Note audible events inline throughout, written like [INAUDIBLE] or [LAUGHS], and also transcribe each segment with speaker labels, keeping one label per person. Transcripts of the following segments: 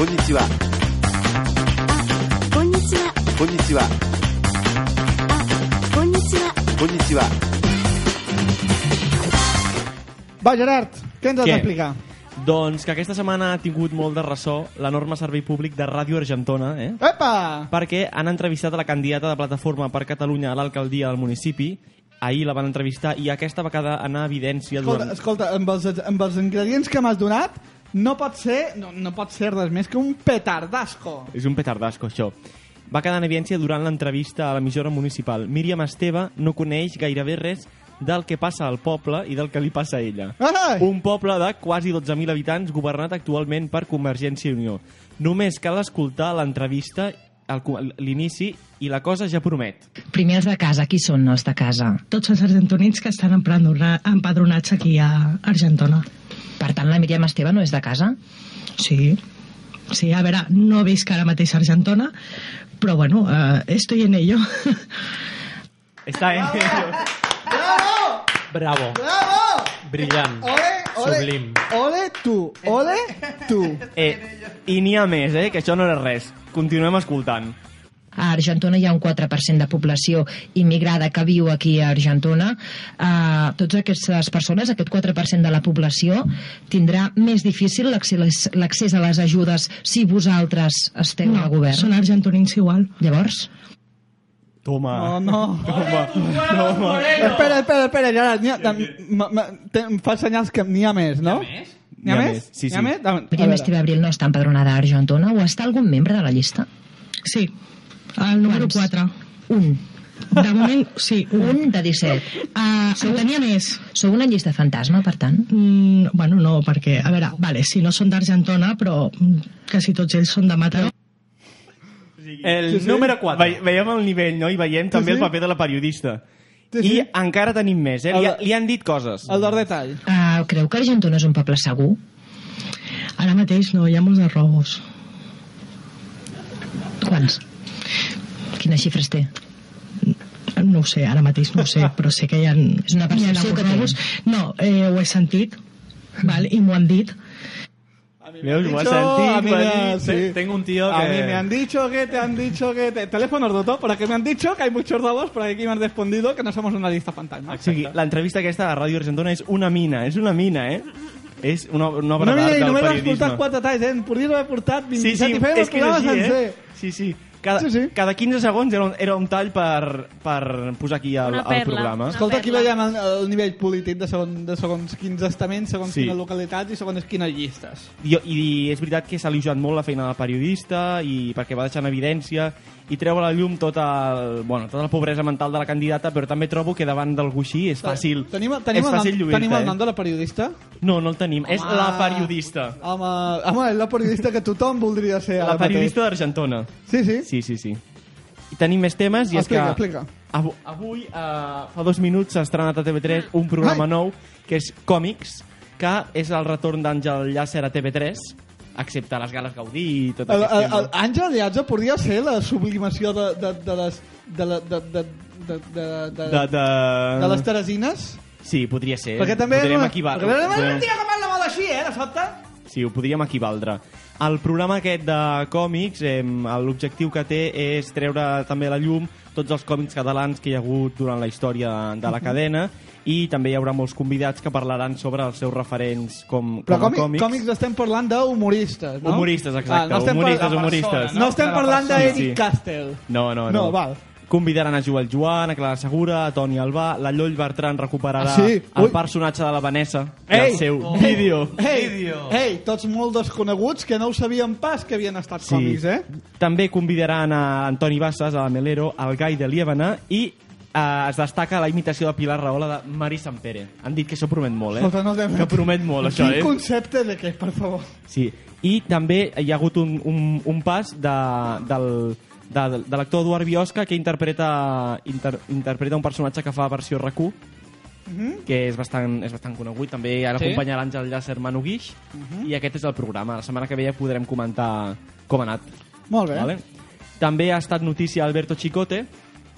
Speaker 1: こんにちは。
Speaker 2: こんにちは。
Speaker 1: こんにちは。
Speaker 2: こんにちは。
Speaker 1: こんにちは。
Speaker 2: こんにちは。
Speaker 3: Va, Gerard, què ens has
Speaker 4: Què?
Speaker 3: d'explicar?
Speaker 4: Doncs que aquesta setmana ha tingut molt de ressò l'enorme servei públic de Ràdio Argentona, eh?
Speaker 3: Epa!
Speaker 4: perquè han entrevistat a la candidata de Plataforma per Catalunya a l'alcaldia del municipi. Ahir la van entrevistar i aquesta vegada anar a evidència
Speaker 3: Escolta,
Speaker 4: durant...
Speaker 3: escolta amb, els, amb els ingredients que m'has donat, no pot ser, no, no pot ser res més que un petardasco.
Speaker 4: És un petardasco, això. Va quedar en evidència durant l'entrevista a l'emissora municipal. Míriam Esteve no coneix gairebé res del que passa al poble i del que li passa a ella.
Speaker 3: Ai!
Speaker 4: Un poble de quasi 12.000 habitants governat actualment per Convergència i Unió. Només cal escoltar l'entrevista, el co- l'inici, i la cosa ja promet.
Speaker 5: Primer els de casa, qui són els de casa?
Speaker 6: tots els argentonins que estan empadrona- empadronats aquí a Argentona.
Speaker 5: Per tant, la Míriam Esteve no és de casa?
Speaker 6: Sí. Sí, a veure, no visc ara mateix a Argentona, però bueno, eh, estoy en ello. [LAUGHS]
Speaker 4: Està eh? en ello. [LAUGHS]
Speaker 3: Bravo!
Speaker 7: Bravo,
Speaker 3: Bravo!
Speaker 7: brillant,
Speaker 3: Ole, ole,
Speaker 7: sublim.
Speaker 3: ole tu, ole tu.
Speaker 4: Eh, I n'hi ha més, eh, que això no era res. Continuem escoltant.
Speaker 5: A Argentona hi ha un 4% de població immigrada que viu aquí a Argentona. Uh, tots aquestes persones, aquest 4% de la població, tindrà més difícil l'accés l'accés a les ajudes si vosaltres esteu no, al govern.
Speaker 6: Són argentonins igual.
Speaker 5: Llavors,
Speaker 3: No,
Speaker 4: Toma.
Speaker 3: no.
Speaker 4: Toma. Toma.
Speaker 3: Espera, espera, espera, Gerard. N'hi ha, m- m- te- em fa senyals que n'hi ha més, no? N'hi ha més?
Speaker 4: Sí,
Speaker 3: N'hi ha
Speaker 4: sí.
Speaker 3: més? A- a
Speaker 5: Míriam
Speaker 3: veure.
Speaker 5: Esteve Abril no està empadronada a Argentona o està algun membre de la llista?
Speaker 6: Sí, Ah, el número
Speaker 5: Quants?
Speaker 6: 4.
Speaker 5: Un.
Speaker 6: De moment, [LAUGHS] sí, un.
Speaker 5: Un de 17.
Speaker 6: Uh, en tenia més.
Speaker 5: Sou una llista fantasma, per tant?
Speaker 6: Mm, bueno, no, perquè, a veure, vale, si no són d'Argentona, però mm, quasi tots ells són de Mataró.
Speaker 4: El
Speaker 3: Sí, sí.
Speaker 4: número 4. Ve veiem el nivell, no? I veiem sí, també
Speaker 3: sí.
Speaker 4: el paper de la periodista.
Speaker 3: Sí,
Speaker 4: Sí,
Speaker 3: sí.
Speaker 4: sí. I encara tenim més, eh? Li,
Speaker 3: El-
Speaker 4: li han dit coses.
Speaker 3: El del detall.
Speaker 5: Uh, creu que Argentona és un poble segur?
Speaker 6: Ara mateix no, hi ha molts de robos.
Speaker 5: Quants? Quines xifres té?
Speaker 6: No ho sé, ara mateix no ho sé, però sé que hi ha... És
Speaker 5: una percepció que
Speaker 6: robos. No, eh, ho he sentit, val? i m'ho han dit.
Speaker 4: Veus, ho has
Speaker 3: Dicho, a mí
Speaker 4: sentit?
Speaker 3: me
Speaker 4: va
Speaker 3: ha-
Speaker 4: dir-
Speaker 3: sí.
Speaker 7: Tengo un tío
Speaker 3: A
Speaker 7: que-
Speaker 3: mí me han dicho que te han dicho que... Te... Teléfonos, doctor, por aquí me han dicho que hay muchos robos, por aquí me han respondido que no somos una lista fantasma.
Speaker 4: O sigui, l'entrevista aquesta de Ràdio Argentona és una mina, és una mina, eh? És una, una obra
Speaker 3: No, mira, i
Speaker 4: d'art del
Speaker 3: només has
Speaker 4: periodisme.
Speaker 3: portat quatre talls, eh? En podries haver portat
Speaker 4: Sí,
Speaker 3: 27
Speaker 4: sí,
Speaker 3: i fer
Speaker 4: és
Speaker 3: el
Speaker 4: que era
Speaker 3: programa
Speaker 4: així,
Speaker 3: sencer.
Speaker 4: eh? Sí, sí. Cada,
Speaker 3: Sí, sí.
Speaker 4: cada 15 segons era un, era un tall per, per posar aquí el,
Speaker 8: Una
Speaker 4: el
Speaker 8: perla.
Speaker 4: programa.
Speaker 3: Escolta, aquí
Speaker 8: perla.
Speaker 3: veiem el, el nivell polític de, segon, de segons quins estaments, segons
Speaker 4: Sí.
Speaker 3: quines localitats i segons quines llistes.
Speaker 4: I, i és veritat que s'ha elogiat molt la feina del periodista i perquè va deixar en evidència i treu a la llum tota, el, bueno, tota la pobresa mental de la candidata, però també trobo que davant del guixí és fàcil,
Speaker 3: Tenim, tenim,
Speaker 4: és
Speaker 3: el,
Speaker 4: fàcil
Speaker 3: nom,
Speaker 4: lluir-te.
Speaker 3: tenim el nom
Speaker 4: eh?
Speaker 3: de la periodista?
Speaker 4: No, no el tenim. És
Speaker 3: Home.
Speaker 4: la periodista.
Speaker 3: Home, home, és la periodista que tothom voldria ser.
Speaker 4: La
Speaker 3: ara mateix.
Speaker 4: periodista d'Argentona.
Speaker 3: Sí, sí.
Speaker 4: Sí, sí, sí. I tenim més temes i és
Speaker 3: Explica,
Speaker 4: que...
Speaker 3: explica.
Speaker 4: Avui, avui eh, fa dos minuts s'ha estrenat a TV3 un programa
Speaker 3: Ah. Ai.
Speaker 4: nou que és Còmics, que és el retorn d'Àngel Llàcer a TV3, excepte a les gales Gaudí i tot
Speaker 3: El,
Speaker 4: aquest
Speaker 3: el, el
Speaker 4: tema.
Speaker 3: Àngel Llàtzer podria ser la sublimació de, de, de les... De, la, de, de, de, de, de,
Speaker 4: De, Eh, de...
Speaker 3: de les Teresines?
Speaker 4: Sí, podria ser.
Speaker 3: Perquè també... era
Speaker 4: Podríem
Speaker 3: una-
Speaker 4: equival...
Speaker 3: Perquè també era
Speaker 4: podríem-
Speaker 3: un tio que parla molt així, eh, de sobte.
Speaker 4: Sí, ho podríem equivaldre. El programa aquest de còmics, eh, l'objectiu que té és treure també a la llum tots els còmics catalans que hi ha hagut durant la història de la cadena i també hi haurà molts convidats que parlaran sobre els seus referents com,
Speaker 3: Però
Speaker 4: com a
Speaker 3: còmic,
Speaker 4: còmics.
Speaker 3: còmics estem parlant d'humoristes, no?
Speaker 4: Humoristes, exacte.
Speaker 3: estem parlant-
Speaker 4: Humoristes, humoristes.
Speaker 3: No estem parlant
Speaker 4: persona.
Speaker 3: d'Eric
Speaker 4: Sí.
Speaker 3: Castell.
Speaker 4: No, no, no.
Speaker 3: No, val.
Speaker 4: Convidaran a Joel Joan, a Clara Segura, a Toni Albà, la Lloll Bertran recuperarà
Speaker 3: Ah, sí?
Speaker 4: el
Speaker 3: Ui.
Speaker 4: personatge de la Vanessa i
Speaker 3: Ei! Oh.
Speaker 4: el seu
Speaker 3: [LAUGHS]
Speaker 4: vídeo.
Speaker 3: Ei,
Speaker 7: Vídeo.
Speaker 3: ei, tots molt desconeguts que no ho sabien pas que havien estat còmics, eh?
Speaker 4: També convidaran a Antoni Bassas, a la Melero, al Gai de Liebana i eh, es destaca la imitació de Pilar Rahola de Mari Sampere. Han dit que això promet molt, eh?
Speaker 3: Escolta, no de-
Speaker 4: Que promet molt, això,
Speaker 3: Quin
Speaker 4: eh?
Speaker 3: concepte de què, per favor?
Speaker 4: Sí. I també hi ha hagut un, un, un pas de, del, de, de l'actor Eduard Biosca que interpreta, inter, interpreta un personatge que fa versió rac que és bastant, és bastant conegut. També
Speaker 3: Mhm.
Speaker 4: ara
Speaker 3: Sí? Mhm.
Speaker 4: sí? acompanya l'Àngel Llàcer Manu Guix i aquest és el programa. La setmana que ve ja podrem comentar com ha anat.
Speaker 3: Molt bé.
Speaker 4: Vale? També ha estat notícia Alberto Chicote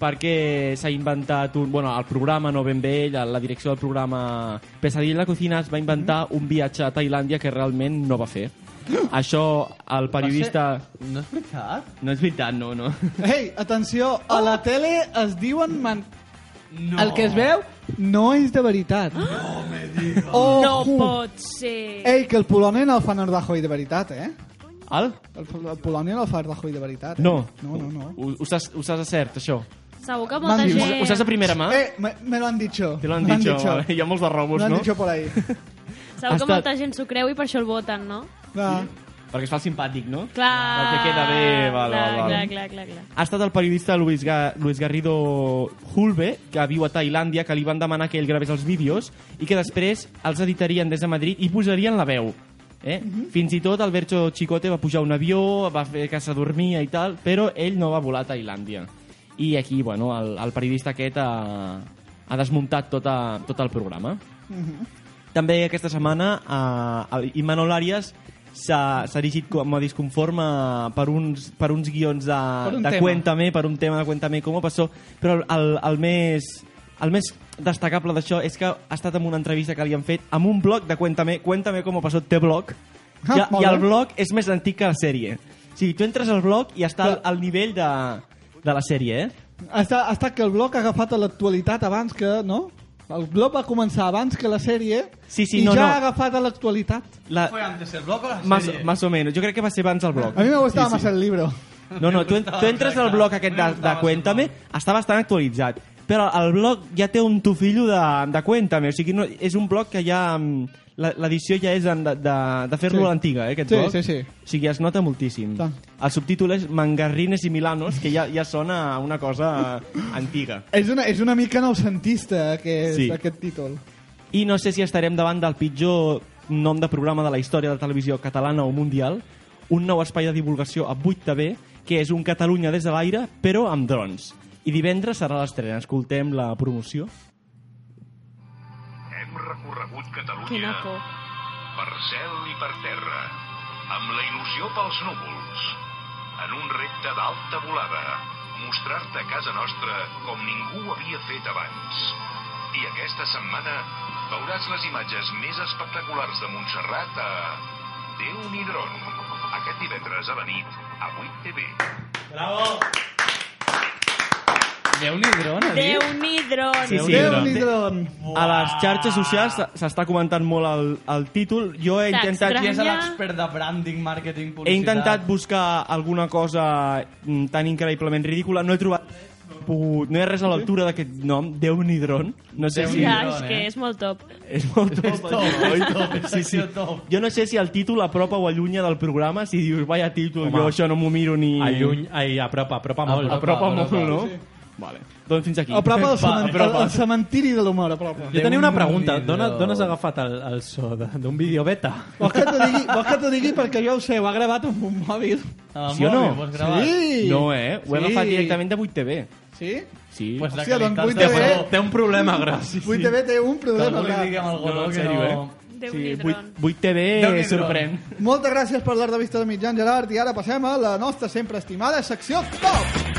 Speaker 4: perquè s'ha inventat un, bueno, el programa no ben bé ell, la direcció del programa Pesadilla en la cocina es va inventar un viatge a Tailàndia que realment no va fer. [GASPS] Això el periodista...
Speaker 2: No és veritat?
Speaker 4: No és veritat, no, no.
Speaker 3: Ei, atenció, a la tele es diuen man...
Speaker 2: No.
Speaker 3: El que es veu no és de veritat. No me digas. Oh,
Speaker 7: No pot ser.
Speaker 3: Ei, que el Polònia no el fa en Ardajoy de veritat, eh?
Speaker 4: Al?
Speaker 3: El, el Polònia no el fa Ardajoy de veritat. Eh?
Speaker 4: No.
Speaker 3: No, no, no.
Speaker 4: Ho, ho, saps, ho saps a cert, això?
Speaker 7: Segur que molta
Speaker 3: M'han dit-
Speaker 7: gent...
Speaker 4: Ho, ho saps a primera mà?
Speaker 3: Eh, me, me lo han dicho.
Speaker 4: Te l'han
Speaker 3: Me
Speaker 4: dit, vale. hi ha molts de
Speaker 3: Me
Speaker 4: robos,
Speaker 3: lo han
Speaker 4: no?
Speaker 3: dicho por
Speaker 4: [LAUGHS]
Speaker 3: ahí.
Speaker 7: Segur
Speaker 4: Ha
Speaker 7: que
Speaker 4: estat-
Speaker 7: molta gent s'ho creu i per això el voten, no?
Speaker 3: Va.
Speaker 4: Perquè es fa el simpàtic, no?
Speaker 7: Clar.
Speaker 4: Perquè Ah, queda bé, val,
Speaker 7: clar,
Speaker 4: val, val.
Speaker 7: Clar, clar, clar, clar.
Speaker 4: Ha estat el periodista Luis, Ga Luis Garrido Hulbe, que viu a Tailàndia, que li van demanar que ell gravés els vídeos i que després els editarien des de Madrid i posarien la veu. Eh? Fins i tot Alberto Chicote va pujar a un avió, va fer que s'adormia i tal, però ell no va volar a Tailàndia. I aquí, bueno, el, el periodista aquest ha, ha desmuntat tot, a, tot el programa. També aquesta setmana eh, Imanol Arias s'ha s'ha erigit com a disconforme per uns, per uns guions de,
Speaker 3: Per un
Speaker 4: de
Speaker 3: tema.
Speaker 4: Cuéntame, per un tema de Cuéntame com passó, però el, el més el més destacable d'això és que ha estat en una entrevista que li han fet amb un blog de Cuéntame, Cuéntame com passó té blog,
Speaker 3: Ah,
Speaker 4: i,
Speaker 3: molt
Speaker 4: i el
Speaker 3: bé.
Speaker 4: blog és més antic que la sèrie. O sigui, tu entres al blog i està al, al nivell de, de la sèrie, eh?
Speaker 3: Ha estat, ha estat que el bloc ha agafat a l'actualitat abans que... No? El bloc va començar abans que la sèrie
Speaker 4: Sí,
Speaker 3: i
Speaker 4: sí, no,
Speaker 3: ja
Speaker 4: no.
Speaker 3: ha agafat a l'actualitat.
Speaker 4: La,
Speaker 2: Fue antes el bloc o la
Speaker 4: más,
Speaker 2: sèrie?
Speaker 4: más o menos. Jo crec que va ser abans el blog.
Speaker 3: A mi me gustava sí, sí. massa el libro.
Speaker 4: No, no, tu, en- tu entres al blog aquest de,
Speaker 2: Exacte.
Speaker 4: de Cuéntame, està bastant actualitzat, però el blog ja té un tufillo de, de Cuéntame, o sigui, no, és un blog que ja... mm, la- L'edició ja és en- de, de, de fer-lo
Speaker 3: Sí.
Speaker 4: a l'antiga, eh, aquest
Speaker 3: Sí,
Speaker 4: blog.
Speaker 3: sí, sí.
Speaker 4: O sigui, es nota moltíssim.
Speaker 3: Tant.
Speaker 4: El subtítol és Mangarrines i Milanos, que ja, ja sona a una cosa antiga.
Speaker 3: És una, és una mica noucentista aquest,
Speaker 4: Sí.
Speaker 3: sí. aquest títol.
Speaker 4: I no sé si estarem davant del pitjor nom de programa de la història de la televisió catalana o mundial, un nou espai de divulgació a 8TV, que és un Catalunya des de l'aire, però amb drons. I divendres serà l'estrena. Escoltem la promoció.
Speaker 8: Hem recorregut
Speaker 7: Quina
Speaker 8: Catalunya
Speaker 7: por.
Speaker 8: per cel i per terra, amb la il·lusió pels núvols, en un repte d'alta volada, mostrar-te casa nostra com ningú havia fet abans. I aquesta setmana veuràs les imatges més espectaculars de Montserrat a Déu n'hi dron, aquest divendres a la nit a 8 TV.
Speaker 2: Déu-n'hi drona,
Speaker 7: déu nhi
Speaker 4: Sí, sí,
Speaker 3: Déu
Speaker 4: dron.
Speaker 3: n'hi dron.
Speaker 4: A les xarxes socials s- s'està comentant molt el, el títol. Jo he intentat,
Speaker 7: T'extra-
Speaker 2: Qui és l'expert de branding, màrqueting,
Speaker 4: he
Speaker 2: publicitat?
Speaker 4: intentat buscar alguna cosa mm, tan increïblement ridícula. No he trobat res, no he pogut, no hi ha res a l'altura d'aquest nom, Déu ni dron. No sé si...
Speaker 7: Ja,
Speaker 2: dron,
Speaker 7: és
Speaker 2: eh?
Speaker 7: que és molt top.
Speaker 4: És molt top,
Speaker 2: És top,
Speaker 4: això,
Speaker 2: és
Speaker 4: oi?
Speaker 2: top, és
Speaker 4: sí, sí.
Speaker 2: secció top.
Speaker 4: Jo no sé si el títol apropa o allunya del programa, si dius, vaya títol,
Speaker 9: Home.
Speaker 4: jo això no m'ho miro ni...
Speaker 9: Alluny, ai, apropa, apropa molt.
Speaker 4: Apropa,
Speaker 2: Apropa,
Speaker 4: molt,
Speaker 2: apropa,
Speaker 4: no? Vale. Doncs fins aquí.
Speaker 3: A prop
Speaker 2: [LAUGHS]
Speaker 3: del cement-
Speaker 2: però-
Speaker 3: el- el cementiri de l'humor, a prop.
Speaker 9: Jo tenia una pregunta.
Speaker 2: Déu-n'hi-do.
Speaker 9: D'on d'on has agafat el, el so de- d'un vídeo beta?
Speaker 3: Vols que t'ho digui, vols que t'ho digui perquè jo ho sé, ho ha gravat amb un mòbil.
Speaker 2: Amb el
Speaker 4: Sí o no?
Speaker 2: mòbil, ho has gravat?
Speaker 3: Sí!
Speaker 4: No, eh? Ho hem
Speaker 3: Sí.
Speaker 4: agafat directament de 8TV.
Speaker 3: Sí?
Speaker 4: Sí.
Speaker 2: Pues de
Speaker 3: Hòstia, doncs
Speaker 2: qualitat,
Speaker 3: 8 TV.
Speaker 2: té- Té un problema gros.
Speaker 3: 8TV té un
Speaker 2: Que
Speaker 3: problema.
Speaker 2: algú li
Speaker 3: clar.
Speaker 2: digui amb el
Speaker 4: No,
Speaker 2: godó
Speaker 4: en
Speaker 2: que
Speaker 4: sèrio, eh?
Speaker 2: no...
Speaker 7: déu
Speaker 4: sí,
Speaker 7: nhi
Speaker 4: 8, 8TV
Speaker 2: Déu-n'hi-do.
Speaker 4: sorprèn.
Speaker 3: Moltes gràcies per l'art de vista de mitjan, Gerard, i ara passem a la nostra sempre estimada secció Top!